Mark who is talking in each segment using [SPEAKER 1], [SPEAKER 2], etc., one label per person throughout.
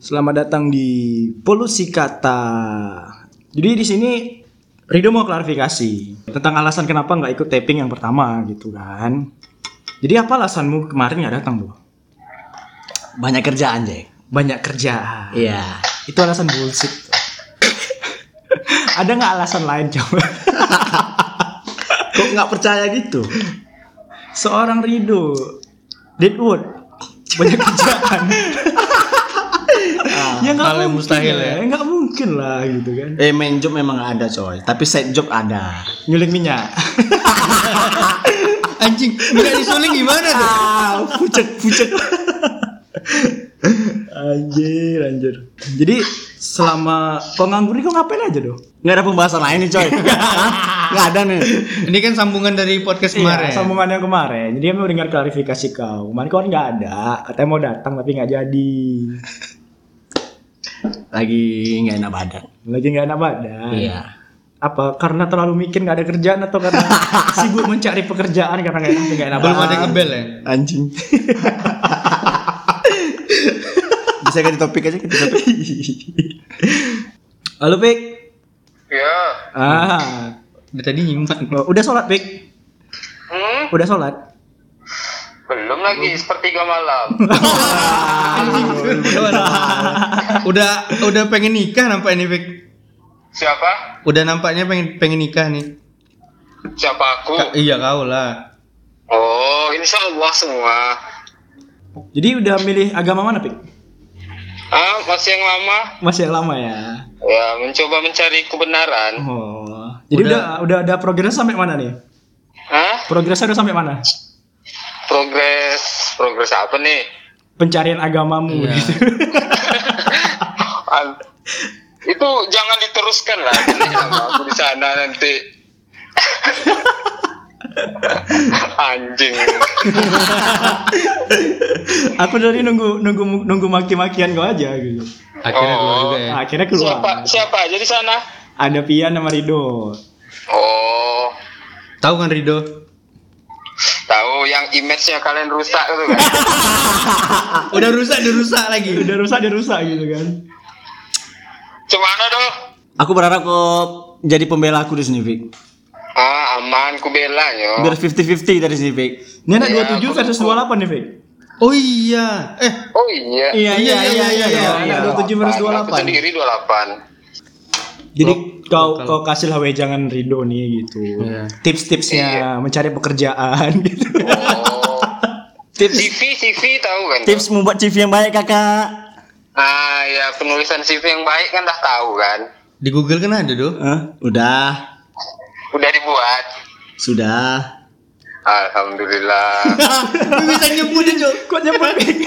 [SPEAKER 1] Selamat datang di Polusi Kata. Jadi di sini Rido mau klarifikasi tentang alasan kenapa nggak ikut taping yang pertama gitu kan. Jadi apa alasanmu kemarin nggak datang, Bu?
[SPEAKER 2] Banyak kerjaan, Jack.
[SPEAKER 1] Banyak kerjaan.
[SPEAKER 2] Iya.
[SPEAKER 1] Eh, Itu alasan bullshit. Ada nggak alasan lain coba?
[SPEAKER 2] Kok nggak percaya gitu?
[SPEAKER 1] Seorang Rido Deadwood banyak kerjaan. ya nggak
[SPEAKER 3] Ah, hal yang
[SPEAKER 1] mungkin
[SPEAKER 3] mustahil ya.
[SPEAKER 1] Nggak mungkin lah gitu kan.
[SPEAKER 2] Eh, main job memang nggak ada, coy. Tapi side job ada.
[SPEAKER 1] Nyuling minyak.
[SPEAKER 3] Anjing, minyak disuling gimana tuh?
[SPEAKER 1] Ah, pucet pucet. anjir, anjir. Jadi selama kau nganggur ini kau ngapain aja doh?
[SPEAKER 2] Nggak ada pembahasan lain nih, coy. Hah? Nggak ada nih.
[SPEAKER 3] Ini kan sambungan dari podcast
[SPEAKER 1] Iya,
[SPEAKER 3] kemarin.
[SPEAKER 1] sambungannya kemarin. Jadi kami mendengar klarifikasi kau. Kemarin kau kan nggak ada. Katanya mau datang tapi nggak jadi.
[SPEAKER 2] Lagi nggak enak badan.
[SPEAKER 1] Lagi nggak enak badan.
[SPEAKER 2] Iya.
[SPEAKER 1] Apa karena terlalu mikir nggak ada kerjaan atau karena sibuk mencari pekerjaan karena nggak enak nggak enak
[SPEAKER 3] Belum ada
[SPEAKER 1] badan?
[SPEAKER 3] ngebel ya?
[SPEAKER 2] Anjing. Bisa ganti topik aja, ganti topik.
[SPEAKER 1] Halo Pik.
[SPEAKER 4] Ya.
[SPEAKER 1] Ah,
[SPEAKER 3] Dari tadi nyimak.
[SPEAKER 1] udah sholat Pik.
[SPEAKER 4] Hmm?
[SPEAKER 1] Udah sholat.
[SPEAKER 4] Belum lagi sepertiga malam.
[SPEAKER 1] Ah, iya,
[SPEAKER 3] udah udah pengen nikah nampak ini, Vic.
[SPEAKER 4] Siapa?
[SPEAKER 3] Udah nampaknya pengen pengen nikah nih.
[SPEAKER 4] Siapa aku?
[SPEAKER 3] Ka- iya kau lah.
[SPEAKER 4] Oh, insya Allah semua.
[SPEAKER 1] Jadi udah milih agama mana Pik?
[SPEAKER 4] Ah, masih yang lama?
[SPEAKER 1] Masih lama ya.
[SPEAKER 4] Ya, mencoba mencari kebenaran.
[SPEAKER 1] Oh, jadi udah udah, ada progres sampai mana nih?
[SPEAKER 4] Hah?
[SPEAKER 1] Progresnya udah sampai mana?
[SPEAKER 4] Progres, progres apa nih?
[SPEAKER 1] Pencarian agamamu
[SPEAKER 3] Iya.
[SPEAKER 1] gitu.
[SPEAKER 4] An- itu jangan diteruskan lah. Ini sama aku di sana nanti. Anjing.
[SPEAKER 1] Aku dari nunggu nunggu nunggu maki-makian kau aja gitu.
[SPEAKER 3] Akhirnya keluar juga ya.
[SPEAKER 4] Oh.
[SPEAKER 1] Akhirnya keluar.
[SPEAKER 4] Siapa siapa aja di sana?
[SPEAKER 1] Ada Pian sama Rido.
[SPEAKER 4] Oh,
[SPEAKER 3] Tahu kan Rido?
[SPEAKER 4] tahu yang image-nya kalian rusak itu kan.
[SPEAKER 3] Udah rusak, dirusak lagi.
[SPEAKER 1] Udah rusak, udah rusak gitu kan.
[SPEAKER 4] Cemana Anu doh?
[SPEAKER 2] Aku berharap kok jadi pembela aku di sini, Vic.
[SPEAKER 4] Ah, aman, ku bela yo.
[SPEAKER 2] Biar 50-50 dari sini, Vic.
[SPEAKER 1] Ini anak
[SPEAKER 4] Iya,
[SPEAKER 1] 27
[SPEAKER 4] aku-
[SPEAKER 1] versus 28 nih, Fik.
[SPEAKER 3] Oh iya. Eh,
[SPEAKER 4] Oh iya.
[SPEAKER 3] iya, iya, iya, iya.
[SPEAKER 1] Anak 27 versus
[SPEAKER 4] Aku sendiri
[SPEAKER 1] 28.
[SPEAKER 4] 28.
[SPEAKER 1] Jadi kau kau kasih lah wejangan Rido nih gitu.
[SPEAKER 3] Iya.
[SPEAKER 1] Tips-tipsnya mencari pekerjaan gitu.
[SPEAKER 4] Oh.
[SPEAKER 2] Tips
[SPEAKER 4] CV, CV tahu kan?
[SPEAKER 2] tips membuat CV yang baik, Kakak.
[SPEAKER 4] Ah, ya penulisan CV yang baik kan dah tahu kan.
[SPEAKER 3] di Google kan ada do.
[SPEAKER 2] Hah? Udah,
[SPEAKER 4] Udah dibuat.
[SPEAKER 2] sudah.
[SPEAKER 4] Alhamdulillah.
[SPEAKER 3] Bisa nyebutin Jo.
[SPEAKER 1] Kok nyebut Fik?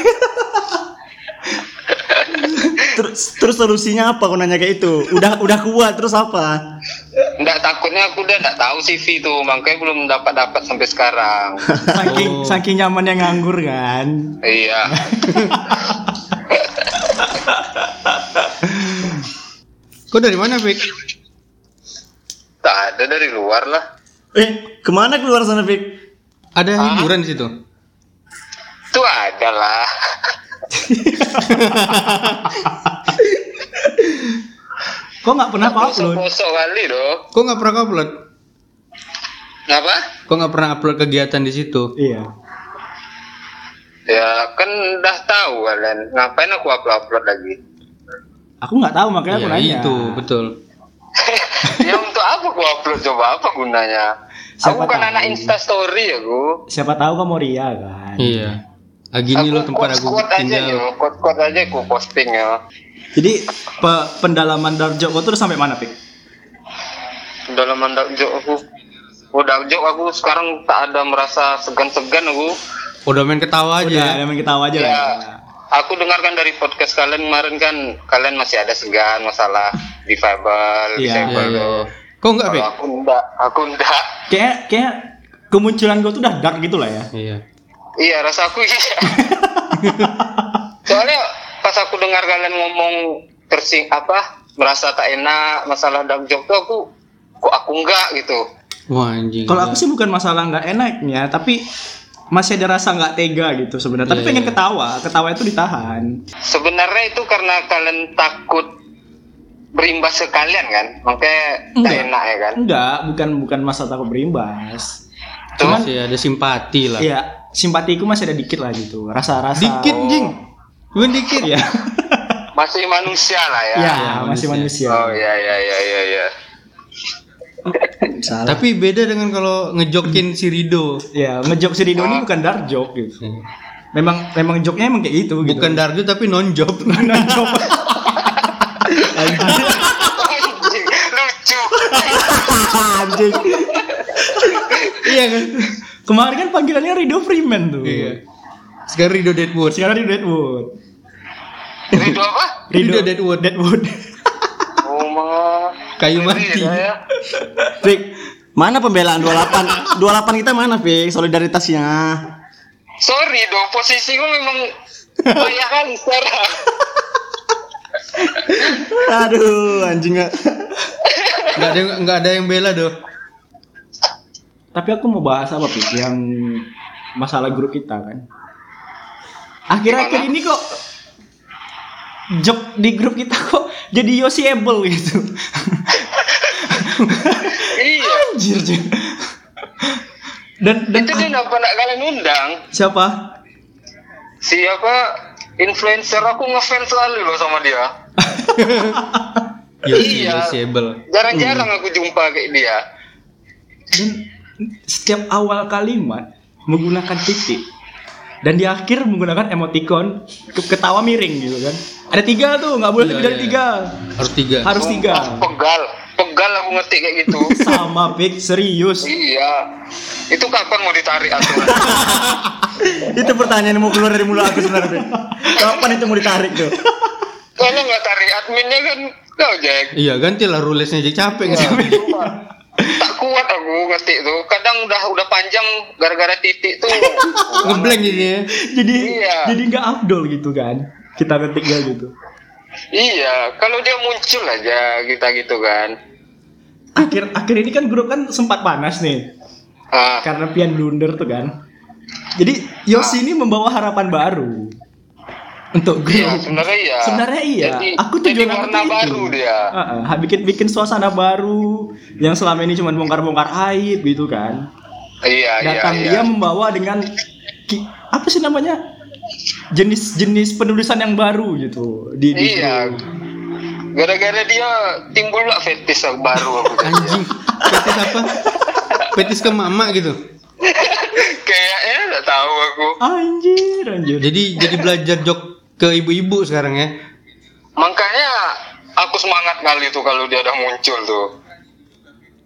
[SPEAKER 2] terus terus solusinya apa kau nanya kayak itu udah udah kuat terus apa
[SPEAKER 4] Nggak takutnya aku udah nggak tahu CV itu, makanya belum dapat dapat sampai sekarang.
[SPEAKER 1] Saking
[SPEAKER 3] Oh.
[SPEAKER 1] saking nyamannya nganggur kan.
[SPEAKER 4] iya.
[SPEAKER 3] Kau dari mana, Vic?
[SPEAKER 4] Tak ada dari luar lah.
[SPEAKER 2] eh kemana keluar sana Vic
[SPEAKER 3] Ada hiburan di situ.
[SPEAKER 4] Itu ada lah.
[SPEAKER 1] Kok nggak pernah upload?
[SPEAKER 4] Kosong kali doh.
[SPEAKER 3] Kok nggak pernah kau upload?
[SPEAKER 4] Kenapa?
[SPEAKER 3] Kok nggak pernah upload kegiatan di situ?
[SPEAKER 1] Iya.
[SPEAKER 4] Ya kan udah tahu kalian. Ngapain aku upload-upload lagi?
[SPEAKER 1] Aku nggak tahu makanya aku
[SPEAKER 3] Ya,
[SPEAKER 1] nanya.
[SPEAKER 3] itu betul.
[SPEAKER 4] ya untuk apa aku upload coba apa gunanya?
[SPEAKER 1] Siapa
[SPEAKER 4] aku kan
[SPEAKER 1] tahu?
[SPEAKER 4] anak Insta Story ya, aku.
[SPEAKER 1] Siapa tahu kamu ria kan?
[SPEAKER 3] Iya. Ah, gini
[SPEAKER 4] aku
[SPEAKER 3] loh tempat aku
[SPEAKER 4] quote-quote aja
[SPEAKER 3] tinggal.
[SPEAKER 4] yo, quote-quote aja aku posting ya.
[SPEAKER 1] Jadi pe- pendalaman dark joke itu sampai mana, Pik?
[SPEAKER 4] Dalam mandak jok aku. Udah jok aku sekarang tak ada merasa segan-segan aku.
[SPEAKER 3] Udah main ketawa aja.
[SPEAKER 1] Udah, emang kita tahu aja lah.
[SPEAKER 4] Ya. Aku dengarkan dari podcast kalian kemarin kan kalian masih ada segan masalah
[SPEAKER 1] Iya.
[SPEAKER 4] difabel,
[SPEAKER 3] Iya,
[SPEAKER 4] disable.
[SPEAKER 3] iya, iya. Kok enggak,
[SPEAKER 4] Kalau
[SPEAKER 3] Bek?
[SPEAKER 4] aku enggak, aku enggak.
[SPEAKER 1] Kayak kayak kemunculan gue tuh udah dark gitu lah ya.
[SPEAKER 3] Iya.
[SPEAKER 4] Iya, rasa aku iya. Soalnya pas aku dengar kalian ngomong tersing apa merasa tak enak masalah dark joke tuh aku kok aku enggak gitu.
[SPEAKER 3] Wah, anjing.
[SPEAKER 1] Kalau aku sih bukan masalah nggak enaknya, tapi masih ada rasa nggak tega gitu sebenarnya. Tapi
[SPEAKER 3] Iya,
[SPEAKER 1] pengen
[SPEAKER 3] iya.
[SPEAKER 1] ketawa, ketawa itu ditahan.
[SPEAKER 4] Sebenarnya itu karena kalian takut berimbas sekalian kan, makanya tak
[SPEAKER 1] Enggak.
[SPEAKER 4] enak ya kan.
[SPEAKER 1] Enggak, bukan bukan masa takut berimbas.
[SPEAKER 4] Cuman
[SPEAKER 3] masih ada simpati lah
[SPEAKER 1] Ya, simpatiku masih ada dikit lah gitu. Rasa-rasa.
[SPEAKER 3] dikit jing bukan dikit
[SPEAKER 1] Ya.
[SPEAKER 4] masih manusia lah ya.
[SPEAKER 1] ya,
[SPEAKER 3] Ya,
[SPEAKER 1] masih manusia.
[SPEAKER 3] manusia.
[SPEAKER 4] Oh ya ya ya ya ya.
[SPEAKER 1] Salah.
[SPEAKER 3] tapi beda dengan kalau ngejokin si Rido
[SPEAKER 1] ya, ngejok si Rido ini bukan dark joke gitu.
[SPEAKER 3] Iya.
[SPEAKER 1] Memang memang joknya emang kayak gitu gitu.
[SPEAKER 3] bukan Darjo tapi non job
[SPEAKER 1] Ngejok.
[SPEAKER 4] Anjing, Lucu.
[SPEAKER 1] Anjing.
[SPEAKER 3] iya kan
[SPEAKER 1] Kemarin kan panggilannya Rido Freeman tuh.
[SPEAKER 3] iya sekarang Rido Deadwood
[SPEAKER 1] Sekarang Rido Deadwood.
[SPEAKER 4] Ridho apa?
[SPEAKER 3] Rido Deadwood
[SPEAKER 1] Deadwood.
[SPEAKER 4] Oh ma.
[SPEAKER 3] kayu
[SPEAKER 4] Ngeri
[SPEAKER 3] mati
[SPEAKER 4] ya, saya.
[SPEAKER 2] Fik, mana pembelaan 28? 28 kita mana, Fik? Solidaritasnya.
[SPEAKER 4] Sorry dong, posisi gue memang bayangan sekarang.
[SPEAKER 2] Aduh, anjing nggak.
[SPEAKER 3] nggak ada nggak ada yang bela doh
[SPEAKER 1] Tapi aku mau bahas apa sih yang masalah grup kita kan. Akhir-akhir ini kok job di grup kita kok jadi Yosiable gitu.
[SPEAKER 4] Iya.
[SPEAKER 1] Anjir. cuy. Dan dan
[SPEAKER 4] Itu kan dia kenapa nak kalian undang?
[SPEAKER 1] siapa?
[SPEAKER 4] Siapa influencer aku ngefans selalu loh sama dia.
[SPEAKER 3] Yosi
[SPEAKER 4] Iya.
[SPEAKER 3] Yosiable
[SPEAKER 4] Jarang-jarang
[SPEAKER 1] Hmm.
[SPEAKER 4] aku jumpa kayak dia.
[SPEAKER 1] Dan setiap awal kalimat menggunakan titik dan di akhir menggunakan emoticon ke- ketawa miring gitu kan. Ada tiga tuh, nggak boleh
[SPEAKER 3] Iya,
[SPEAKER 1] lebih dari
[SPEAKER 3] iya.
[SPEAKER 1] tiga.
[SPEAKER 3] harus tiga
[SPEAKER 1] Harus tiga.
[SPEAKER 4] Sumpah, Pegal, pegal aku ngetik kayak gitu.
[SPEAKER 1] Sama pik serius.
[SPEAKER 4] iya. Itu kapan mau ditarik aturan?
[SPEAKER 2] Itu pertanyaan yang mau keluar dari mulut aku sebenarnya, Fik. Kapan itu mau ditarik tuh?
[SPEAKER 4] Kalau nggak tarik adminnya kan kau Jack.
[SPEAKER 3] iya gantilah rulesnya jadi capek nggak
[SPEAKER 4] Sumpah. tak kuat aku ngetik tuh. Kadang udah udah panjang gara-gara titik tuh.
[SPEAKER 3] ngeblank jadi ya
[SPEAKER 1] Jadi
[SPEAKER 4] Iya.
[SPEAKER 1] jadi nggak abdol gitu kan. Kita ngetiknya gitu.
[SPEAKER 4] iya, kalau dia muncul aja kita gitu kan.
[SPEAKER 1] Akhir akhir ini kan grup kan sempat panas nih
[SPEAKER 4] Ah,
[SPEAKER 1] karena pian blunder tuh kan. Jadi Yosi ini membawa harapan baru untuk grup.
[SPEAKER 4] iya, sebenarnya iya.
[SPEAKER 1] Sebenarnya iya.
[SPEAKER 4] Jadi,
[SPEAKER 1] aku
[SPEAKER 4] jadi
[SPEAKER 1] tujuan aku
[SPEAKER 4] warna
[SPEAKER 1] tuh itu.
[SPEAKER 4] baru dia.
[SPEAKER 1] Heeh, ha- bikin bikin suasana baru yang selama ini cuma bongkar-bongkar aib gitu kan.
[SPEAKER 4] Iya, iya,
[SPEAKER 1] Datang
[SPEAKER 4] iya.
[SPEAKER 1] dia membawa dengan ki- apa sih namanya? jenis-jenis penulisan yang baru gitu di, di
[SPEAKER 4] Iya.
[SPEAKER 1] grup.
[SPEAKER 4] Gara-gara dia timbul lah fetish yang baru aku. Jack.
[SPEAKER 3] anjing petis apa petis ke mama gitu
[SPEAKER 4] Kayaknya nggak tahu aku.
[SPEAKER 1] Anjir, anjir.
[SPEAKER 3] jadi jadi belajar jok ke ibu-ibu sekarang ya
[SPEAKER 4] Makanya aku semangat kali tuh kalau dia udah muncul tuh.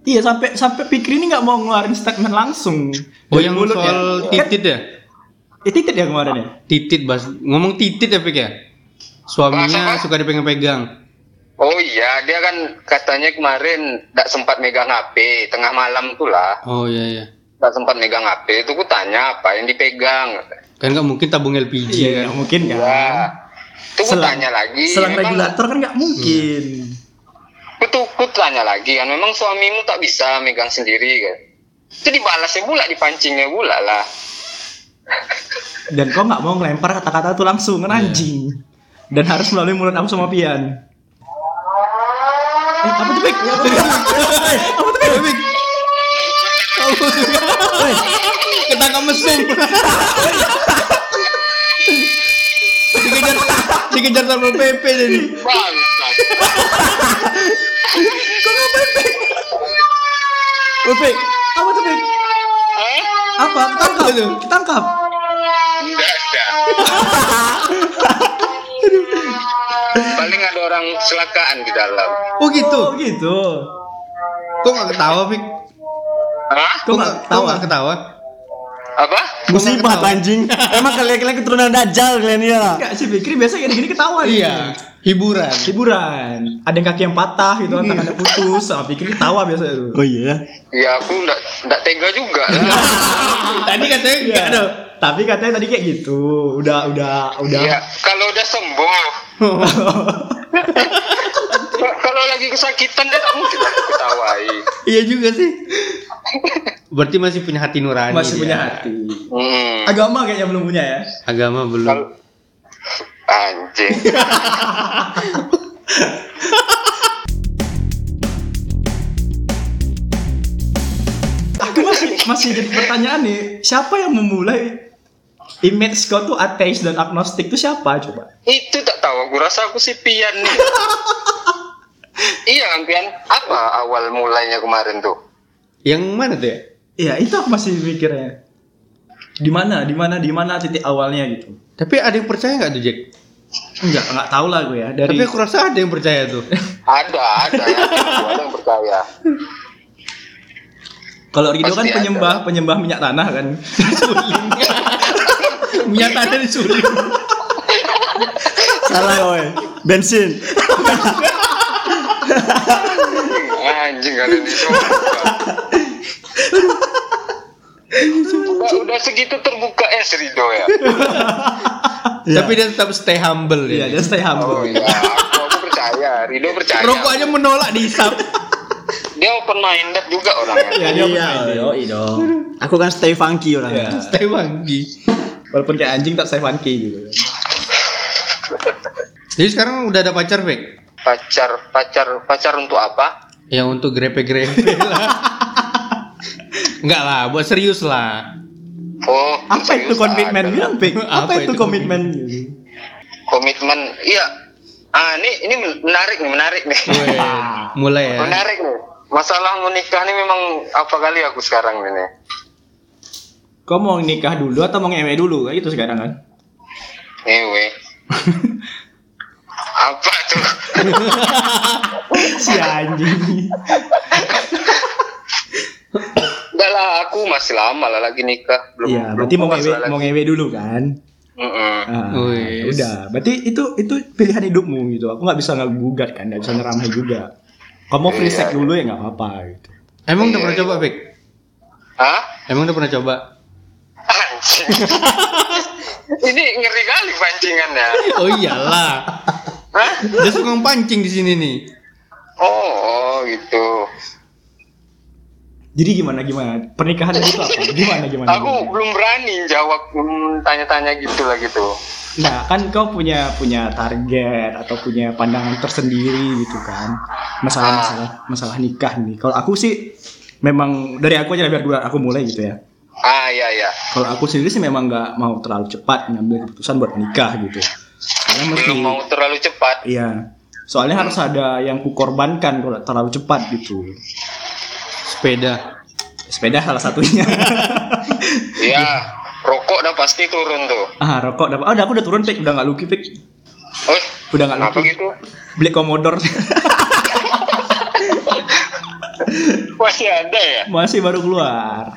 [SPEAKER 1] Iya sampai sampai pikir ini nggak mau ngeluarin statement langsung.
[SPEAKER 3] oh
[SPEAKER 1] Dari
[SPEAKER 3] yang
[SPEAKER 1] mulutnya.
[SPEAKER 3] soal titit ya
[SPEAKER 1] Kan- eh, titit ya kemarin ya.
[SPEAKER 3] titit bas ngomong titit ya Pik ya suaminya
[SPEAKER 4] Bahasa apa?
[SPEAKER 3] suka dipegang-pegang
[SPEAKER 4] Oh iya, dia kan katanya kemarin tidak sempat megang HP, tengah malam tuh lah.
[SPEAKER 3] oh iya iya
[SPEAKER 4] Tidak sempat megang HP, itu ku tanya apa yang dipegang.
[SPEAKER 3] kan nggak mungkin tabung LPG
[SPEAKER 1] Iya,
[SPEAKER 3] kan
[SPEAKER 1] mungkin kan.
[SPEAKER 4] Ya, itu ku
[SPEAKER 1] Selang-
[SPEAKER 4] tanya lagi.
[SPEAKER 1] Selang
[SPEAKER 4] memang-
[SPEAKER 1] regulator kan nggak mungkin.
[SPEAKER 4] Ku tuh ku tanya lagi kan, memang suamimu tak bisa megang sendiri kan. Itu dibalasnya pula, dipancingnya pula lah.
[SPEAKER 1] Dan kok nggak mau ngelempar kata-kata itu langsung kan anjing. Dan harus melalui mulut aku sama Pian. Eh, apa tuh Pik? Apa tuh, Pik?
[SPEAKER 3] ketangkap mesum dikejar dikejar satpol pp jadi
[SPEAKER 4] Bangsat.
[SPEAKER 1] Oh, Pik. Apa tuh Pik?
[SPEAKER 4] Eh?
[SPEAKER 1] Apa? Tangkap.
[SPEAKER 3] Apa tuh?
[SPEAKER 1] Tangkap.
[SPEAKER 4] Enggak ada. Paling ada orang kecelakaan di dalam.
[SPEAKER 3] oh gitu
[SPEAKER 1] Oh, gitu.
[SPEAKER 3] kok nggak ketawa pik
[SPEAKER 4] Hah?
[SPEAKER 1] Kok
[SPEAKER 3] kok
[SPEAKER 1] nggak
[SPEAKER 3] nggak
[SPEAKER 1] ketawa?
[SPEAKER 3] kok nggak ketawa
[SPEAKER 4] Apa?
[SPEAKER 2] Musibah anjing. Emang kalian-kalian keturunan dajal kalian ya.
[SPEAKER 1] Enggak sih Fikri biasa kayak gini ketawa nih.
[SPEAKER 3] iya hiburan
[SPEAKER 1] hiburan ada yang kaki yang patah gitu kan tangannya putus sama pikir ketawa biasa itu
[SPEAKER 2] Oh iya.
[SPEAKER 4] Ya aku enggak enggak tega juga lah.
[SPEAKER 3] tadi katanya enggak ada
[SPEAKER 1] Iya, tapi katanya tadi kayak gitu udah udah udah
[SPEAKER 4] Ya, kalau udah sembuh. kalau lagi kesakitan dia tak mungkin aku ketawai.
[SPEAKER 3] iya juga sih berarti masih punya hati nurani
[SPEAKER 1] masih
[SPEAKER 3] dia.
[SPEAKER 1] punya hati
[SPEAKER 4] Hmm.
[SPEAKER 1] Agama kayaknya belum punya ya.
[SPEAKER 3] Agama belum.
[SPEAKER 4] Kalau- Anjing.
[SPEAKER 1] Aku masih masih jadi pertanyaan nih, siapa yang memulai image kau tuh ateis dan agnostik tuh siapa coba?
[SPEAKER 4] Itu tak tahu, aku rasa aku si Pian nih. iya kan Pian? Apa awal mulainya kemarin tuh?
[SPEAKER 3] Yang mana tuh ya?
[SPEAKER 1] Iya, itu aku masih mikirnya. Di mana, di mana, di mana titik awalnya gitu.
[SPEAKER 3] Tapi ada yang percaya nggak tuh Jack?
[SPEAKER 1] Enggak, enggak tahu lah gue ya dari
[SPEAKER 3] Tapi aku rasa ada yang percaya tuh.
[SPEAKER 4] Ada, ada. ada yang percaya.
[SPEAKER 1] kalau Rido kan
[SPEAKER 4] Pasti ada.
[SPEAKER 1] penyembah penyembah minyak tanah kan. Suling.
[SPEAKER 3] Minyak tanah disuruh.
[SPEAKER 2] Salah oi. Bensin.
[SPEAKER 4] Anjing ada di semua. Udah, udah segitu terbuka ya Serido ya.
[SPEAKER 3] Tapi dia tetap stay humble
[SPEAKER 1] Iya,
[SPEAKER 3] ya.
[SPEAKER 1] dia stay
[SPEAKER 4] Oh
[SPEAKER 1] humble.
[SPEAKER 4] iya, aku, aku percaya. Rido percaya.
[SPEAKER 3] Rokok aja menolak dihisap.
[SPEAKER 4] Dia open minded juga orangnya.
[SPEAKER 1] Iya, dia open-minded.
[SPEAKER 2] oi dong. Aku kan stay funky
[SPEAKER 1] Iya.
[SPEAKER 2] orangnya.
[SPEAKER 3] stay wangi.
[SPEAKER 1] Walaupun kayak anjing tak stay funky gitu.
[SPEAKER 3] Jadi sekarang udah ada pacar Bek?
[SPEAKER 4] Pacar, pacar, pacar untuk apa?
[SPEAKER 3] Yang Ya, untuk grepe-grepe lah. Enggak lah, buat serius lah.
[SPEAKER 4] Oh,
[SPEAKER 1] Apa itu
[SPEAKER 4] serius,
[SPEAKER 1] komitmen
[SPEAKER 4] ada.
[SPEAKER 1] bilang, Pik? Apa,
[SPEAKER 3] Apa
[SPEAKER 1] itu
[SPEAKER 3] itu
[SPEAKER 1] komitmen?
[SPEAKER 4] komitmen iya ah ini ini menarik nih menarik nih
[SPEAKER 1] Oh, iya.
[SPEAKER 3] Weh, mulai ya.
[SPEAKER 4] menarik nih masalah menikah ini memang apa kali aku sekarang ini
[SPEAKER 1] Kau mau nikah dulu atau mau ngewe dulu? Kayak gitu sekarang kan.
[SPEAKER 4] anyway apa tuh
[SPEAKER 1] si anjing.
[SPEAKER 4] enggak lah aku masih lama lah lagi nikah belum
[SPEAKER 1] Iya, berarti mau ngewe mau ngewe dulu kan? Ah,
[SPEAKER 3] Wis.
[SPEAKER 1] udah, berarti itu itu pilihan hidupmu gitu. Aku nggak bisa ngegugat kan, nggak bisa ngeramai juga. Kamu mau free
[SPEAKER 4] Iya.
[SPEAKER 1] sex dulu ya nggak apa-apa gitu.
[SPEAKER 3] Emang udah
[SPEAKER 4] Iya,
[SPEAKER 3] pernah
[SPEAKER 4] iya.
[SPEAKER 3] coba Bek?
[SPEAKER 4] Hah?
[SPEAKER 3] Emang udah pernah coba?
[SPEAKER 4] anjing ini ngeri kali pancingannya
[SPEAKER 3] Oh iyalah.
[SPEAKER 4] Hah?
[SPEAKER 3] Dia suka pancing di sini nih.
[SPEAKER 4] oh, oh gitu
[SPEAKER 1] Jadi gimana gimana? Pernikahan itu apa? Gimana gimana?
[SPEAKER 4] aku belum berani jawab hmm, tanya-tanya gitu lah gitu
[SPEAKER 1] Nah, kan kau punya punya target atau punya pandangan tersendiri gitu kan.
[SPEAKER 4] Ah,
[SPEAKER 1] Masalah masalah masalah nikah nih. Kalau aku sih memang dari aku aja lah, biar gua aku mulai gitu ya.
[SPEAKER 4] ah iya iya
[SPEAKER 1] Kalau aku sendiri sih memang nggak mau terlalu cepat ngambil keputusan buat nikah gitu. Karena mesti
[SPEAKER 4] belum mau terlalu cepat
[SPEAKER 1] Iya. Soalnya harus ada yang kukorbankan kalau terlalu cepat gitu.
[SPEAKER 3] Sepeda.
[SPEAKER 1] Sepeda salah satunya.
[SPEAKER 4] Iya, rokok dah pasti turun tuh.
[SPEAKER 1] ah, rokok dapat. Oh, udah aku udah turun pik, udah nggak luki pik.
[SPEAKER 4] Oh,
[SPEAKER 1] Udah nggak
[SPEAKER 4] kenapa
[SPEAKER 1] luki.
[SPEAKER 4] gitu?
[SPEAKER 1] Beli komodor.
[SPEAKER 4] Masih ada ya?
[SPEAKER 1] Masih baru keluar.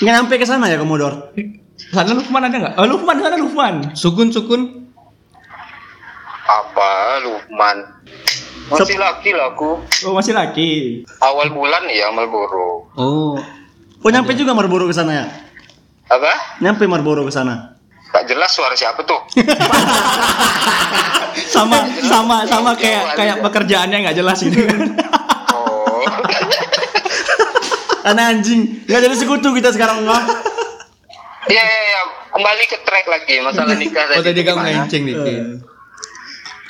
[SPEAKER 2] Nggak sampai ke sana ya Komodor.
[SPEAKER 1] Sana Lukman ada nggak? Oh, Lukman sana Lukman.
[SPEAKER 3] Sukun sukun.
[SPEAKER 4] Apa, Lukman? Masih laki lah aku.
[SPEAKER 1] Oh, masih laki.
[SPEAKER 4] Awal bulan ya Marlboro.
[SPEAKER 3] Oh.
[SPEAKER 2] Oh nyampe juga Marlboro ke sana ya?
[SPEAKER 4] Apa?
[SPEAKER 2] Nyampe Marlboro ke sana.
[SPEAKER 4] Tak jelas suara siapa tuh.
[SPEAKER 1] Sama sama sama kayak kayak pekerjaannya nggak jelas gitu.
[SPEAKER 4] Oh.
[SPEAKER 2] Anak anjing. Nggak jadi sekutu kita sekarang mah.
[SPEAKER 4] Iya, iya, iya. Kembali ke track lagi masalah nikah
[SPEAKER 3] Oh tadi kamu
[SPEAKER 4] gimana?
[SPEAKER 3] ngencing nih. Ki.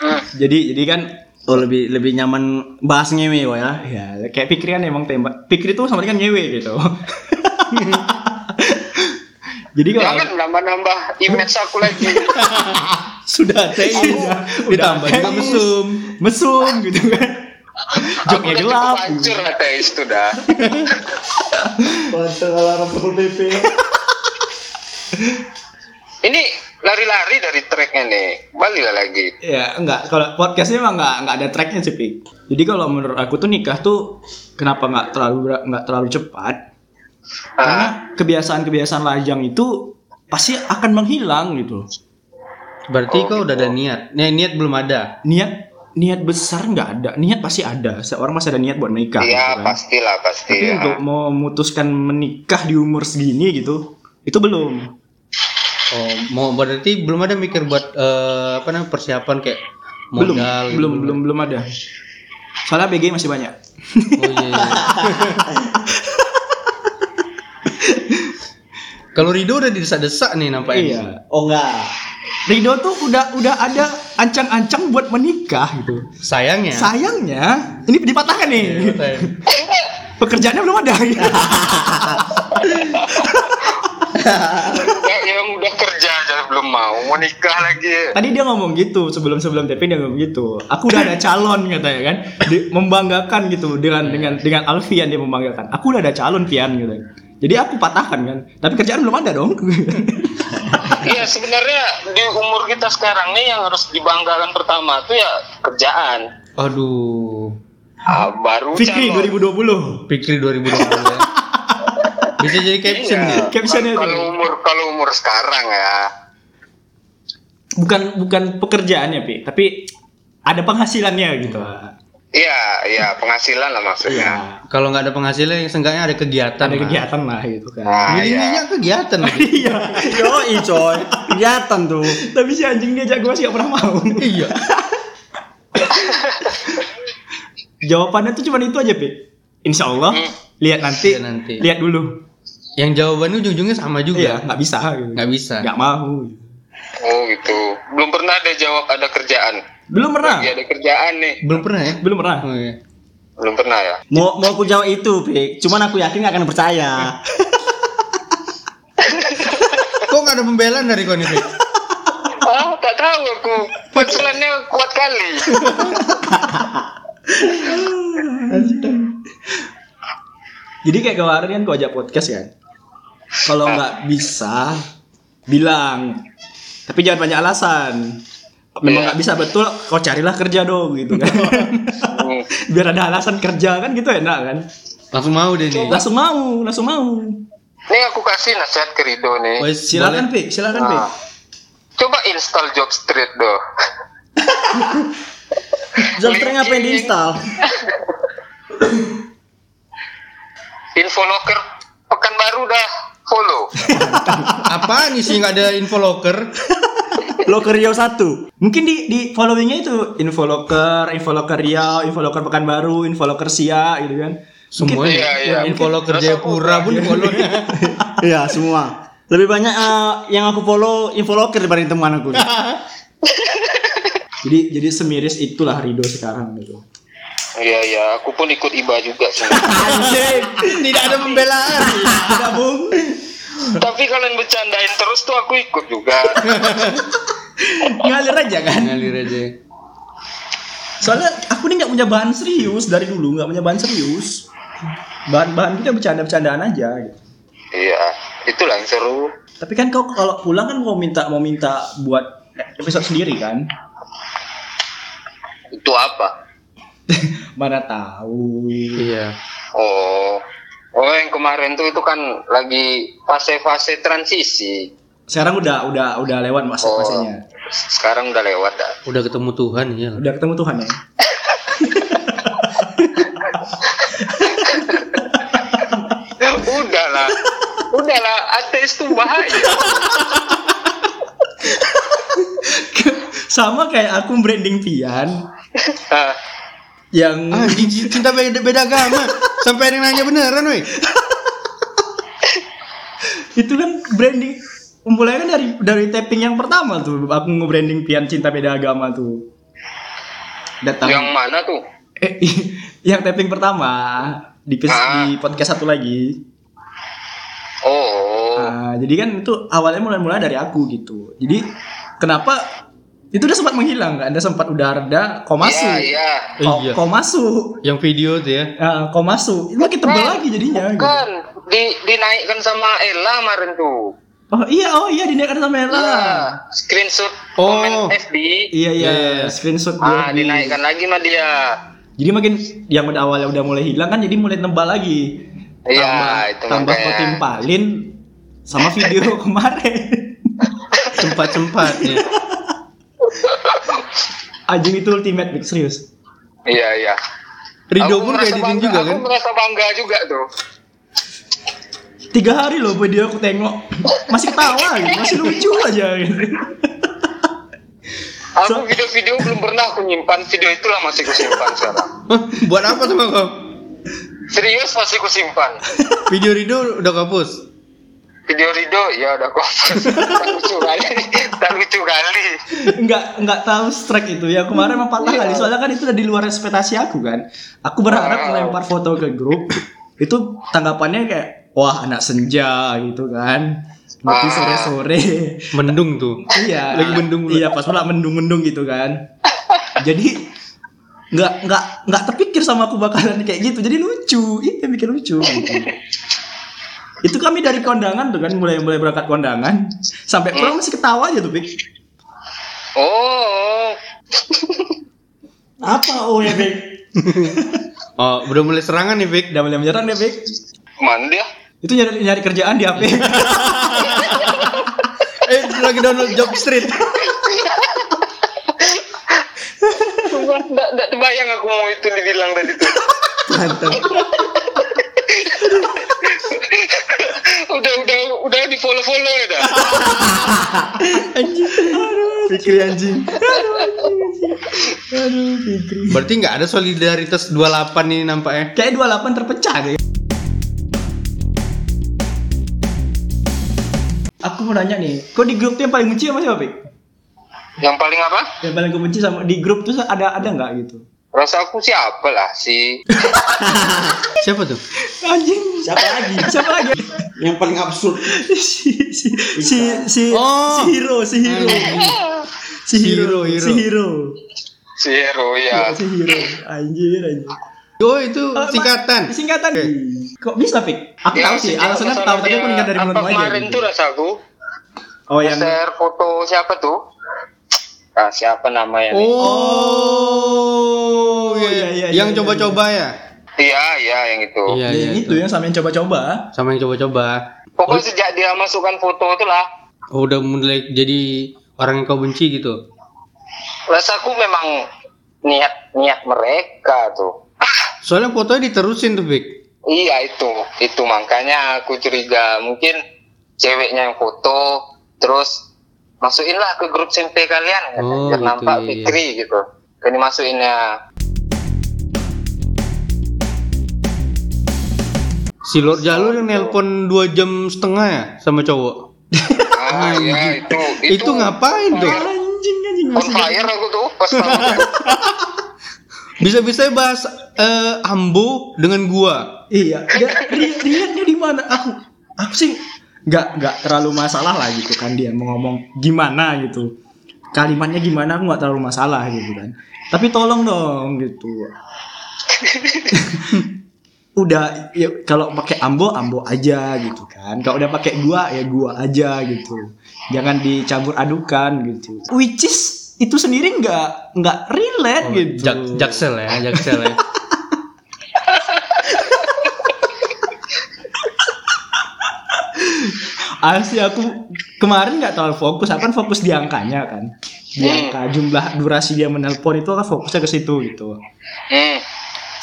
[SPEAKER 4] Hmm.
[SPEAKER 1] jadi jadi kan
[SPEAKER 2] Oh lebih lebih nyaman bahas ngewe kok ya.
[SPEAKER 1] ya kayak pikiran emang tembak. Pikir itu sama dengan ngewe gitu. jadi kalau
[SPEAKER 4] Jangan nambah-nambah image aku lagi.
[SPEAKER 1] sudah teis
[SPEAKER 3] Ditambah juga mesum.
[SPEAKER 1] mesum gitu kan joknya
[SPEAKER 4] Aku gitu, udah
[SPEAKER 1] gelap
[SPEAKER 4] cukup hancur ateis itu dah.
[SPEAKER 2] Pantel alarm pukul PP.
[SPEAKER 4] Ini lari-lari dari tracknya nih. Baliklah lagi.
[SPEAKER 1] ya enggak kalau podcastnya emang enggak enggak ada tracknya sih Pik. jadi kalau menurut aku tuh nikah tuh kenapa enggak terlalu ber- enggak terlalu cepat karena
[SPEAKER 4] Ah,
[SPEAKER 1] kebiasaan-kebiasaan lajang itu pasti akan menghilang gitu
[SPEAKER 3] Berarti
[SPEAKER 4] Oh,
[SPEAKER 3] kau udah ada niat. Nih niat belum ada.
[SPEAKER 1] niat niat besar nggak ada niat pasti ada seorang masih ada niat buat menikah gitu
[SPEAKER 4] iya,
[SPEAKER 1] kan.
[SPEAKER 4] pastilah, pasti.
[SPEAKER 1] tapi
[SPEAKER 4] ya.
[SPEAKER 3] Iya.
[SPEAKER 1] untuk memutuskan menikah di umur segini gitu itu belum
[SPEAKER 3] Oh, mau berarti belum ada mikir buat eh, apa namanya persiapan kayak
[SPEAKER 1] belum
[SPEAKER 3] modal gitu.
[SPEAKER 1] belum belum belum ada soalnya BG masih banyak
[SPEAKER 3] Oh iya. iya. Kalau Rido udah didesak-desak nih
[SPEAKER 1] Iya.
[SPEAKER 3] nampaknya.
[SPEAKER 2] Oh enggak.
[SPEAKER 1] Rido tuh udah udah ada ancang-ancang buat menikah gitu.
[SPEAKER 3] Sayangnya.
[SPEAKER 1] Sayangnya ini dipatahkan nih.
[SPEAKER 3] Iya. Sayang.
[SPEAKER 1] Pekerjaannya belum ada. Gitu.
[SPEAKER 4] Ya, yang udah kerja aja belum mau, mau nikah lagi.
[SPEAKER 1] Tadi dia ngomong gitu sebelum sebelum taping dia ngomong gitu. Aku udah ada calon katanya kan. Di- membanggakan gitu dengan dengan dengan Alfian dia membanggakan. Aku udah ada calon Pian gitu. Jadi aku patahkan kan. Tapi kerjaan belum ada dong.
[SPEAKER 4] Iya sebenarnya di umur kita sekarang nih yang harus dibanggakan pertama tuh ya kerjaan.
[SPEAKER 3] Aduh.
[SPEAKER 4] Ah, baru
[SPEAKER 1] Fikri
[SPEAKER 4] calon.
[SPEAKER 1] 2020.
[SPEAKER 3] Pikir 2020. ya. Bisa jadi caption ya?
[SPEAKER 4] Iya.
[SPEAKER 3] nih.
[SPEAKER 1] Captionnya
[SPEAKER 4] kalau
[SPEAKER 1] tuh.
[SPEAKER 4] umur kalau umur sekarang ya
[SPEAKER 1] Bukan bukan pekerjaannya, Pi, tapi ada penghasilannya gitu.
[SPEAKER 4] iya iya penghasilan lah maksudnya
[SPEAKER 1] Iya.
[SPEAKER 3] Kalau nggak ada penghasilan, yang seenggaknya ada kegiatan.
[SPEAKER 1] Ada
[SPEAKER 3] lah.
[SPEAKER 1] kegiatan lah gitu kan.
[SPEAKER 4] nah,
[SPEAKER 3] Jadi
[SPEAKER 4] iya.
[SPEAKER 3] ini kegiatan.
[SPEAKER 1] Iya.
[SPEAKER 2] Yo, coy. Kelihatan tuh.
[SPEAKER 1] Tapi si anjing dia jago sih gak pernah mau.
[SPEAKER 3] iya.
[SPEAKER 1] Jawabannya tuh cuma itu aja, Pi. Insya Allah,
[SPEAKER 4] Hmm.
[SPEAKER 1] lihat nanti,
[SPEAKER 3] Lihat nanti.
[SPEAKER 1] lihat dulu.
[SPEAKER 3] Yang jawabannya ujung-ujungnya sama
[SPEAKER 1] Iya,
[SPEAKER 3] juga.
[SPEAKER 1] nggak bisa. Gitu.
[SPEAKER 3] Nggak bisa.
[SPEAKER 1] Nggak mau. gitu.
[SPEAKER 4] oh gitu belum pernah ada jawab ada kerjaan
[SPEAKER 1] Belum pernah.
[SPEAKER 4] lagi ada kerjaan nih
[SPEAKER 1] Iya.
[SPEAKER 3] Belum pernah ya?
[SPEAKER 1] Belum pernah.
[SPEAKER 3] Oh, iya.
[SPEAKER 4] belum pernah ya
[SPEAKER 2] Mau mau aku jawab itu, Pik. Cuman aku yakin gak akan percaya.
[SPEAKER 3] Kok nggak ada pembelaan dari kau nih? Fit?
[SPEAKER 4] ah tak tahu aku pensilannya kuat kali
[SPEAKER 1] Jadi kayak kemarin kan gua ajak podcast kan. Kalau nggak bisa bilang. Tapi jangan banyak alasan. Memang
[SPEAKER 4] Iya.
[SPEAKER 1] nggak bisa betul, kau carilah kerja dong gitu kan.
[SPEAKER 4] Hmm.
[SPEAKER 1] Biar ada alasan kerja kan gitu enak kan.
[SPEAKER 3] Langsung mau deh nih.
[SPEAKER 1] Langsung mau, langsung mau.
[SPEAKER 4] nih aku kasih nasihat ke Rido nih
[SPEAKER 3] Wes,
[SPEAKER 1] Silakan Pi,
[SPEAKER 3] boleh.
[SPEAKER 2] kan,
[SPEAKER 1] silakan Pi.
[SPEAKER 4] Ah. coba install Jobstreet doh
[SPEAKER 2] Jobstreet ngapain diinstal?
[SPEAKER 4] info locker pekan baru dah follow
[SPEAKER 3] Apaan sih nggak ada info locker?
[SPEAKER 2] Loker Riau 1.
[SPEAKER 1] Mungkin di di followingnya itu infoloker, infoloker Riau, infoloker Pekanbaru, infoloker Sia gitu kan.
[SPEAKER 3] Semua
[SPEAKER 4] Iya, iya.
[SPEAKER 3] ya. Info locker
[SPEAKER 4] Rasa
[SPEAKER 3] Jayapura pun di follow.
[SPEAKER 2] Iya, semua. Lebih banyak eh, yang aku follow info loker dibanding teman aku.
[SPEAKER 1] Jadi jadi semiris itulah Rido sekarang gitu.
[SPEAKER 4] iya iya aku pun ikut iba juga sih
[SPEAKER 2] Anjing, tidak ada pembelaan. Tidak bung.
[SPEAKER 4] tapi kalian bercandain terus tuh aku ikut juga
[SPEAKER 1] Ngalir aja kan.
[SPEAKER 3] Ngalir aja.
[SPEAKER 1] Soalnya aku nih nggak punya bahan serius dari dulu, nggak punya bahan serius. Bahan-bahan kita bercanda-bercandaan aja. Gitu.
[SPEAKER 4] iya itulah yang seru
[SPEAKER 1] Tapi kan kau kalau pulang kan mau minta mau minta buat episode sendiri kan?
[SPEAKER 4] itu apa
[SPEAKER 1] Mana tahu.
[SPEAKER 3] Iya.
[SPEAKER 4] Oh, oh yang kemarin tuh itu kan lagi fase-fase transisi.
[SPEAKER 1] Sekarang udah udah udah lewat masa
[SPEAKER 4] Oh,
[SPEAKER 1] masanya.
[SPEAKER 4] sekarang udah lewat dah.
[SPEAKER 3] Udah ketemu Tuhan ya.
[SPEAKER 1] Udah ketemu Tuhan ya.
[SPEAKER 4] Ya, udahlah, udahlah, ateis tuh bahaya.
[SPEAKER 1] Sama kayak aku branding Pian
[SPEAKER 4] Ah,
[SPEAKER 1] yang
[SPEAKER 3] Ah, cinta beda, beda agama. Sampai ada yang nanya beneran, weh.
[SPEAKER 1] itu kan branding mulai kan dari dari tapping yang pertama tuh aku nge-branding Pian cinta beda agama tuh. Datang
[SPEAKER 4] yang mana tuh?
[SPEAKER 1] Eh, yang taping pertama di, pis-
[SPEAKER 4] Ah.
[SPEAKER 1] di podcast satu lagi.
[SPEAKER 4] Oh,
[SPEAKER 1] Ah, jadi kan itu awalnya mulai-mulai dari aku gitu. Jadi kenapa itu udah sempat menghilang kan? Udah sempat udah reda kok masuk.
[SPEAKER 4] iya, iya.
[SPEAKER 1] Kok,
[SPEAKER 3] Iya.
[SPEAKER 1] kok masuk.
[SPEAKER 3] Yang video tuh ya.
[SPEAKER 1] Ah, kok masuk. Itu makin tebal lagi jadinya. gitu.
[SPEAKER 4] Kan di, dinaikkan sama Ella kemarin tuh.
[SPEAKER 1] Oh iya, oh iya dinaikkan sama Ella.
[SPEAKER 4] Nah, screenshot
[SPEAKER 3] Oh.
[SPEAKER 4] komen FB.
[SPEAKER 1] Iya iya,
[SPEAKER 3] Iya, iya.
[SPEAKER 1] screenshot
[SPEAKER 4] Ah,
[SPEAKER 1] dia.
[SPEAKER 4] dinaikkan lagi sama dia.
[SPEAKER 1] Jadi makin yang udah awalnya udah mulai hilang kan jadi mulai nembal lagi.
[SPEAKER 4] Iya,
[SPEAKER 1] Tambah-
[SPEAKER 4] itu
[SPEAKER 1] tambah
[SPEAKER 4] makanya.
[SPEAKER 1] kau timpalin sama video kemarin.
[SPEAKER 3] Sempat-sempatnya.
[SPEAKER 1] Anjing itu ultimate Mix, serius.
[SPEAKER 4] Iya, iya.
[SPEAKER 3] Rido
[SPEAKER 4] Aku
[SPEAKER 3] pun
[SPEAKER 4] merasa
[SPEAKER 3] kayak editin
[SPEAKER 4] bangga-
[SPEAKER 3] juga
[SPEAKER 4] aku
[SPEAKER 3] kan.
[SPEAKER 4] merasa bangga juga tuh.
[SPEAKER 1] Tiga hari loh video aku tengok masih ketawa gitu, masih lucu aja gitu.
[SPEAKER 4] Aku
[SPEAKER 1] So-
[SPEAKER 4] video-video belum pernah aku nyimpan video itulah masih aku simpan sekarang.
[SPEAKER 3] Hah, Buat apa sama kau?
[SPEAKER 4] Serius masih aku simpan.
[SPEAKER 3] Video Rido udah kau hapus.
[SPEAKER 4] video Rido ya udah kok tak lucu kali tak lucu kali
[SPEAKER 1] nggak nggak tahu strike itu ya kemarin emang
[SPEAKER 4] Iya.
[SPEAKER 1] patah kali soalnya kan itu udah di luar ekspektasi aku kan aku berharap
[SPEAKER 4] Iya.
[SPEAKER 1] melempar foto ke grup itu tanggapannya kayak wah anak senja gitu kan tapi
[SPEAKER 4] Ah.
[SPEAKER 1] sore sore
[SPEAKER 3] Mendung tuh.
[SPEAKER 1] iya
[SPEAKER 3] Lagi mendung pula.
[SPEAKER 1] iya pas pula mendung mendung gitu kan jadi nggak nggak nggak terpikir sama aku bakalan kayak gitu jadi lucu itu yang bikin lucu gitu. itu kami dari kondangan tuh kan mulai mulai berangkat kondangan sampai pulang masih ketawa aja tuh Pik.
[SPEAKER 4] oh
[SPEAKER 1] Apa oh ya Bek?
[SPEAKER 3] Oh, udah mulai serangan nih, Vic.
[SPEAKER 1] Udah mulai menyerang dia Bek.
[SPEAKER 4] mana dia
[SPEAKER 1] Itu nyari nyari kerjaan di HP.
[SPEAKER 3] Eh, lagi download job street.
[SPEAKER 4] tidak tidak terbayang aku mau itu dibilang tadi tuh
[SPEAKER 3] Mantap.
[SPEAKER 4] udah udah udah di follow follow ya dah
[SPEAKER 2] Fikri anjing.
[SPEAKER 1] Aduh Fikri.
[SPEAKER 3] Berarti nggak ada solidaritas 28 nih nampaknya.
[SPEAKER 1] Kayak 28 terpecah deh. Aku mau nanya nih, kok di grup tuh yang paling benci sama siapa, Bek?
[SPEAKER 4] yang paling apa
[SPEAKER 1] Yang paling kau benci sama di grup tuh ada ada nggak gitu?
[SPEAKER 4] rasa aku siapa lah si
[SPEAKER 3] Siapa tuh?
[SPEAKER 1] Anjing, siapa lagi? Siapa lagi?
[SPEAKER 2] Yang paling absurd.
[SPEAKER 1] si si si si,
[SPEAKER 3] Oh.
[SPEAKER 1] si hero, si hero. Si hero,
[SPEAKER 3] Hero,
[SPEAKER 1] si hero.
[SPEAKER 4] si Hero ya
[SPEAKER 1] Si hero. Anjir, anjir.
[SPEAKER 3] Oh, itu
[SPEAKER 1] Oh,
[SPEAKER 3] singkatan.
[SPEAKER 1] ma- Singkatan.
[SPEAKER 3] Oke. Iya,
[SPEAKER 1] Kok bisa, Pik? Aku
[SPEAKER 4] Ya,
[SPEAKER 1] tahu sih,
[SPEAKER 4] sejak
[SPEAKER 1] alasannya aku
[SPEAKER 4] masalah
[SPEAKER 1] tahu, tapi
[SPEAKER 4] dia-
[SPEAKER 1] aku ingat dari
[SPEAKER 4] apa
[SPEAKER 1] mulut kamu aja.
[SPEAKER 4] kemarin
[SPEAKER 1] gitu.
[SPEAKER 4] tuh rasa aku
[SPEAKER 1] Oh, yang
[SPEAKER 4] share foto siapa tuh ah, siapa namanya
[SPEAKER 3] Iya,
[SPEAKER 4] nih?
[SPEAKER 3] Oh,
[SPEAKER 1] iya,
[SPEAKER 3] iya,
[SPEAKER 1] iya, iya,
[SPEAKER 3] Oh. yang coba-coba ya.
[SPEAKER 4] iya iya yang itu
[SPEAKER 3] Iya,
[SPEAKER 1] ya, yang itu yang sama yang coba-coba.
[SPEAKER 3] Sama yang coba-coba.
[SPEAKER 4] pokoknya sejak dia masukkan foto itulah
[SPEAKER 3] Oh, udah mulai jadi orang yang kau benci gitu.
[SPEAKER 4] rasa aku memang niat niat mereka tuh
[SPEAKER 3] Soalnya fotonya diterusin tuh, Vic.
[SPEAKER 4] Iya itu, itu makanya aku curiga mungkin ceweknya yang foto terus masukinlah ke grup SMP kalian katanya,
[SPEAKER 3] Oh,
[SPEAKER 4] biar
[SPEAKER 3] gitu,
[SPEAKER 4] nampak
[SPEAKER 3] iya, iya.
[SPEAKER 4] Fikri gitu. Kan dimasukinnya
[SPEAKER 3] Si Lord Jalur yang nelpon 2 jam setengah ya sama cowok.
[SPEAKER 4] ah iya itu
[SPEAKER 3] Oh, gitu. Itu,
[SPEAKER 4] Ah,
[SPEAKER 3] ngapain tuh?
[SPEAKER 1] Anjing anjing
[SPEAKER 4] on fire aku tuh pas pertama kali.
[SPEAKER 3] Bisa-bisa bahas eh, Ambo dengan gua.
[SPEAKER 1] Iya, dia ri- riaknya di mana? Aku aku sih nggak nggak terlalu masalah lah gitu kan dia mau ngomong gimana gitu. Kalimatnya gimana aku nggak terlalu masalah gitu kan. Tapi tolong dong gitu. udah ya, kalau pakai ambo ambo aja gitu kan kalau udah pakai gua ya gua aja gitu jangan dicampur adukan gitu which is itu sendiri nggak nggak relate gitu
[SPEAKER 3] Oh, Jak- jaksel ya, jaksel ya.
[SPEAKER 1] Asli Ah, aku kemarin nggak terlalu fokus, aku kan fokus di angkanya kan. Di angka jumlah durasi dia menelpon itu kan fokusnya ke situ gitu.
[SPEAKER 4] Hmm.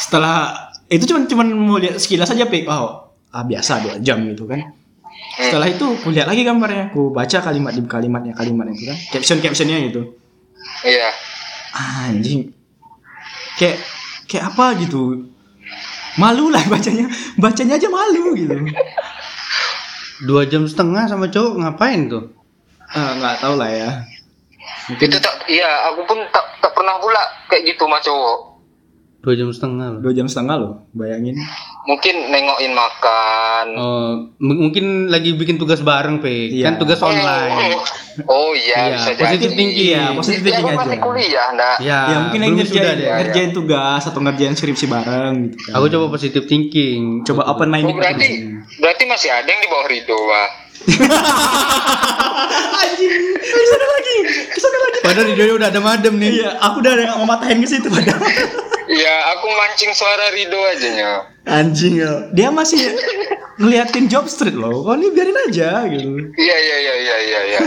[SPEAKER 1] Setelah itu cuman cuman mau lihat sekilas aja pik, wow ah, biasa dua jam gitu kan.
[SPEAKER 4] hmm,
[SPEAKER 1] Setelah itu aku lihat lagi gambarnya, aku baca kalimat di kalimatnya kalimat itu kan, caption captionnya gitu. Ah,
[SPEAKER 4] Iya.
[SPEAKER 1] Anjing, kayak kayak apa gitu. Malu lah bacanya, bacanya aja malu gitu.
[SPEAKER 3] Dua jam setengah sama cowok ngapain tuh?
[SPEAKER 1] Ah, Nggak tahu lah ya. Mungkin
[SPEAKER 4] Itu tak iya aku pun tak, tak pernah pula kayak gitu sama cowok.
[SPEAKER 3] Dua jam setengah loh.
[SPEAKER 1] dua jam setengah loh, bayangin.
[SPEAKER 4] Mungkin nengokin makan.
[SPEAKER 3] Eh, m- mungkin lagi bikin tugas bareng, Pe.
[SPEAKER 1] Iya.
[SPEAKER 3] Kan tugas online.
[SPEAKER 4] Oh, iya,
[SPEAKER 3] Iya,
[SPEAKER 4] bisa jadi.
[SPEAKER 3] positif thinking.
[SPEAKER 1] Iya, positif
[SPEAKER 4] Tapi aku
[SPEAKER 1] thinking
[SPEAKER 4] masih
[SPEAKER 1] aja.
[SPEAKER 4] kuliah, nah.
[SPEAKER 3] Ya,
[SPEAKER 1] ya mungkin lagi
[SPEAKER 3] belum sudah
[SPEAKER 1] ngerjain,
[SPEAKER 3] deh.
[SPEAKER 4] ya.
[SPEAKER 1] ngerjain tugas atau ngerjain skripsi bareng gitu kan.
[SPEAKER 3] Aku coba positive thinking.
[SPEAKER 1] coba open
[SPEAKER 4] Oh,
[SPEAKER 3] Nah,
[SPEAKER 1] minded
[SPEAKER 4] berarti berarti masih ada yang di bawah Ridho, Wah.
[SPEAKER 1] anjing kesana lagi kesana lagi
[SPEAKER 3] Padahal di dia udah ada madem nih.
[SPEAKER 1] iya aku udah nggak mau matahin ke situ padahal
[SPEAKER 4] Iya, aku mancing suara Rido aja nya.
[SPEAKER 1] anjing ya. dia masih ngeliatin job street loh kok ini biarin aja gitu
[SPEAKER 4] Iya iya iya iya iya. iya.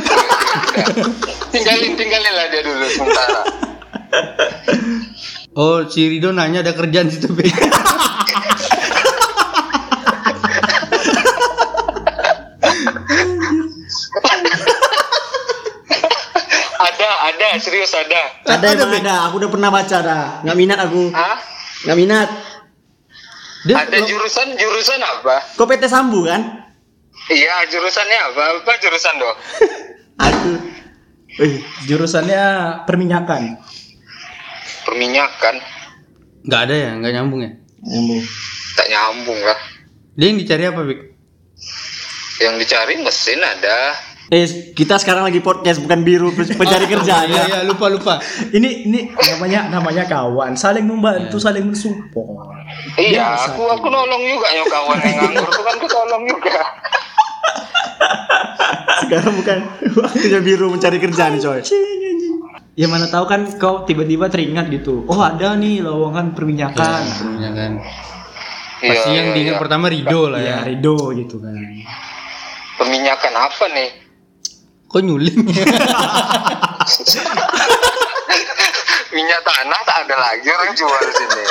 [SPEAKER 4] tinggalin tinggalin lah dia dulu sementara.
[SPEAKER 3] Oh, si Rido nanya ada kerjaan situ, Pe.
[SPEAKER 4] Ada ada serius ada.
[SPEAKER 2] Eh, Ada
[SPEAKER 3] Ada,
[SPEAKER 2] emang
[SPEAKER 3] Bek.
[SPEAKER 2] ada. Aku udah pernah baca dah. Nggak minat aku.
[SPEAKER 4] Hah?
[SPEAKER 2] Nggak minat.
[SPEAKER 3] Dia
[SPEAKER 4] Ada jurusan jurusan apa?
[SPEAKER 2] Kau PT Sambu kan?
[SPEAKER 4] Iya, jurusannya apa? Apa jurusan dong?
[SPEAKER 2] Aku
[SPEAKER 1] Eh, jurusannya perminyakan.
[SPEAKER 4] Perminyakan.
[SPEAKER 3] Nggak ada ya, nggak nyambung ya.
[SPEAKER 1] Nyambung.
[SPEAKER 4] Tak nyambung lah.
[SPEAKER 3] Dia yang dicari apa, Bik?
[SPEAKER 4] Yang dicari mesin ada.
[SPEAKER 2] eh kita sekarang lagi podcast bukan biru pe- pencari kerja
[SPEAKER 3] Ah, Iya,
[SPEAKER 2] ya.
[SPEAKER 3] iya, lupa lupa.
[SPEAKER 1] Ini ini namanya namanya kawan, saling membantu,
[SPEAKER 3] Iya.
[SPEAKER 1] saling mensupport.
[SPEAKER 4] Iya,
[SPEAKER 1] Biasa.
[SPEAKER 4] aku aku nolong juga yang kawan yang nganggur tuh kan aku tolong juga.
[SPEAKER 2] Sekarang bukan waktunya biru mencari kerja nih coy.
[SPEAKER 1] Ya mana tahu kan kau tiba-tiba teringat gitu. Oh, ada nih lowongan perminyakan.
[SPEAKER 3] Sebelumnya kan.
[SPEAKER 4] Iya,
[SPEAKER 3] Pasti yang
[SPEAKER 4] iya,
[SPEAKER 3] diingat
[SPEAKER 4] iya.
[SPEAKER 3] pertama Rido lah ya.
[SPEAKER 1] Ya, Rido gitu kan.
[SPEAKER 4] Perminyakan apa nih?
[SPEAKER 3] Kok nyuling?
[SPEAKER 4] Minyak tanah tak ada lagi orang jual di sini.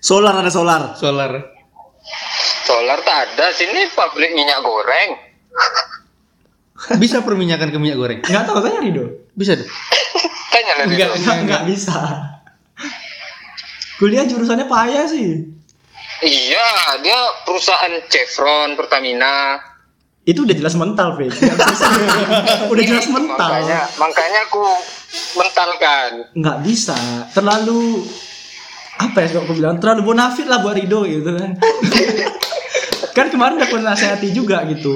[SPEAKER 2] Solar ada solar.
[SPEAKER 3] Solar.
[SPEAKER 4] Solar tak ada, sini pabrik minyak goreng.
[SPEAKER 3] Bisa perminyakan ke minyak goreng?
[SPEAKER 1] Enggak tahu tanya Rido.
[SPEAKER 3] Bisa deh.
[SPEAKER 4] Tanya lah
[SPEAKER 3] Enggak,
[SPEAKER 4] itu.
[SPEAKER 2] Iya,
[SPEAKER 1] Enggak enggak bisa. Kuliah jurusannya payah sih.
[SPEAKER 4] Iya, dia perusahaan Chevron, Pertamina.
[SPEAKER 1] Itu udah jelas mental, Fit. Nggak bisa. udah jelas
[SPEAKER 4] Itu
[SPEAKER 1] mental.
[SPEAKER 4] Makanya, makanya aku mentalkan.
[SPEAKER 1] Nggak bisa. Terlalu apa ya kalau aku bilang terlalu bonafit lah buat Rido gitu kan. kan kemarin udah aku nasihati juga gitu.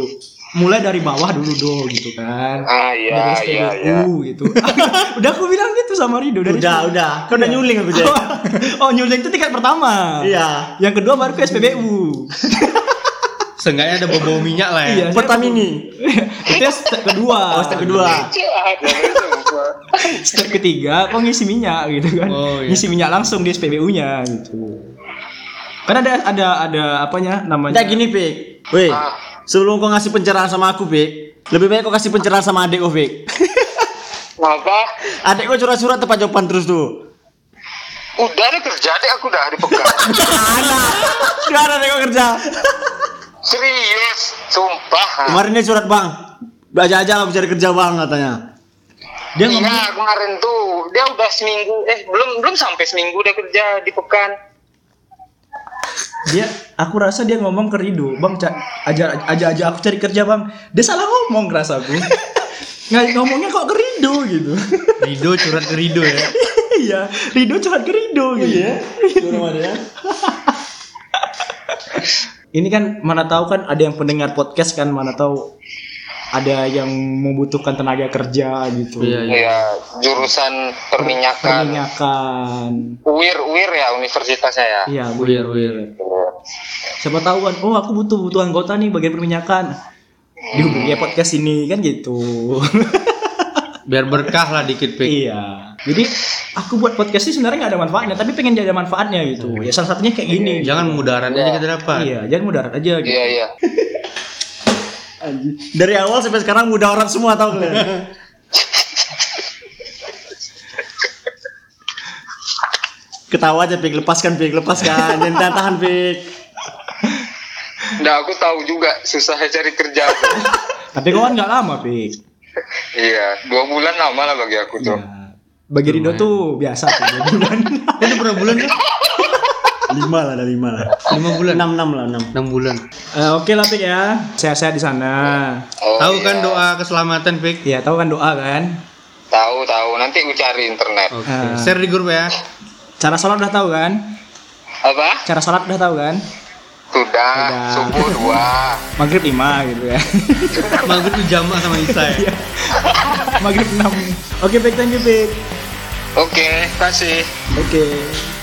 [SPEAKER 1] Mulai dari bawah dulu dong gitu kan.
[SPEAKER 4] Ah
[SPEAKER 1] Dari
[SPEAKER 4] iya, iya,
[SPEAKER 1] SPBU,
[SPEAKER 4] iya.
[SPEAKER 1] gitu. udah aku bilang gitu sama Rido dari
[SPEAKER 2] Udah,
[SPEAKER 1] SPBU.
[SPEAKER 2] udah. Kan udah nyuling aku, Jay.
[SPEAKER 1] oh, nyuling itu tingkat pertama.
[SPEAKER 2] Iya.
[SPEAKER 1] Yang kedua baru ke SPBU.
[SPEAKER 3] Seenggaknya ada bau minyak lah ya.
[SPEAKER 1] Iya.
[SPEAKER 2] Pertamini.
[SPEAKER 1] itu step kedua.
[SPEAKER 2] Oh, step kedua.
[SPEAKER 4] Jahat, ya, sumpah.
[SPEAKER 1] Step ketiga kok ngisi minyak gitu kan.
[SPEAKER 3] Oh, iya.
[SPEAKER 1] Ngisi minyak langsung di SPBU-nya gitu. Kan ada ada ada apanya namanya?
[SPEAKER 2] Enggak Nah, gini, Pik. Weh,
[SPEAKER 4] Ah.
[SPEAKER 2] sebelum kau ngasih pencerahan sama aku, Pik, lebih baik kau kasih pencerahan sama adik kau, Pik.
[SPEAKER 4] Apa?
[SPEAKER 2] Adik kau curhat-curhat tempat jawaban terus tuh.
[SPEAKER 4] Udah ada kerja deh aku udah dipegang.
[SPEAKER 2] Mana? Gimana adik kau kerja?
[SPEAKER 4] Serius, sumpah.
[SPEAKER 2] Kemarin dia curhat, Bang. Aja aja aku cari kerja, Bang, katanya.
[SPEAKER 1] Dia ngomong
[SPEAKER 4] Iya kemarin tuh dia udah seminggu eh belum belum sampai seminggu dia kerja di pekan.
[SPEAKER 1] dia aku rasa dia ngomong ke Rido, "Bang, ca- aja aja aja aku cari kerja, Bang." Dia salah ngomong rasaku. Nggak ngomongnya kok ke Rido gitu.
[SPEAKER 3] Rido curhat ke Rido ya.
[SPEAKER 1] Iya, Rido curhat ke Rido
[SPEAKER 2] Oh,
[SPEAKER 1] gitu.
[SPEAKER 2] iya?
[SPEAKER 1] Ini kan mana tahu kan ada yang pendengar podcast kan mana tahu ada yang membutuhkan tenaga kerja gitu.
[SPEAKER 3] Iya, iya.
[SPEAKER 4] Iya jurusan perminyakan.
[SPEAKER 1] Perminyakan.
[SPEAKER 4] Uir Uir ya universitasnya ya.
[SPEAKER 1] Iya, Bu.
[SPEAKER 3] Weird, weird.
[SPEAKER 1] Siapa tahu kan, oh aku butuh butuh anggota nih bagian perminyakan. Dihubungi ya podcast ini kan gitu.
[SPEAKER 3] Biar berkah lah dikit, Pik.
[SPEAKER 1] iya. Jadi aku buat podcast ini sebenarnya nggak ada manfaatnya, tapi pengen jadi ada manfaatnya gitu. Ya salah satunya kayak gini.
[SPEAKER 3] Jangan mudaran aja kita dapat.
[SPEAKER 1] Iya, jangan mudarat aja gitu.
[SPEAKER 4] Iya iya.
[SPEAKER 2] Dari awal sampai sekarang udah orang semua tahu kalian. Ketawa aja, Pik. Lepaskan, Pik. Lepaskan. Jangan tahan, tahan, Pik.
[SPEAKER 4] Nah aku tahu juga susahnya cari kerja. tuh.
[SPEAKER 1] Tapi kawan nggak lama, Pik.
[SPEAKER 4] iya dua bulan lama lah bagi aku
[SPEAKER 1] Iya.
[SPEAKER 4] tuh.
[SPEAKER 1] Bagi Rido tuh biasa sih dua bulan.
[SPEAKER 3] Itu berapa bulan ya?
[SPEAKER 2] Lima lah, ada lima lah.
[SPEAKER 3] 5 bulan.
[SPEAKER 2] Enam, enam lah, enam.
[SPEAKER 3] 6 bulan.
[SPEAKER 1] Eh, Oke lah Pik ya, sehat-sehat di sana.
[SPEAKER 4] Oh,
[SPEAKER 3] Tahu
[SPEAKER 4] iya.
[SPEAKER 3] kan doa keselamatan, Pik?
[SPEAKER 1] Iya, tahu kan doa kan?
[SPEAKER 4] Tahu tahu nanti aku cari internet.
[SPEAKER 3] Oke.
[SPEAKER 1] Ah.
[SPEAKER 3] Share di grup ya.
[SPEAKER 1] Cara sholat udah tahu kan?
[SPEAKER 4] Apa?
[SPEAKER 1] Cara sholat udah tahu kan?
[SPEAKER 4] Sudah
[SPEAKER 1] Sudah.
[SPEAKER 4] subuh dua.
[SPEAKER 1] Maghrib 5 gitu ya.
[SPEAKER 3] Maghrib tuh jamak sama Isa ya.
[SPEAKER 1] Maghrib 6. Oke, Pik, thank you, Pik.
[SPEAKER 4] Oke kasih.
[SPEAKER 1] Oke.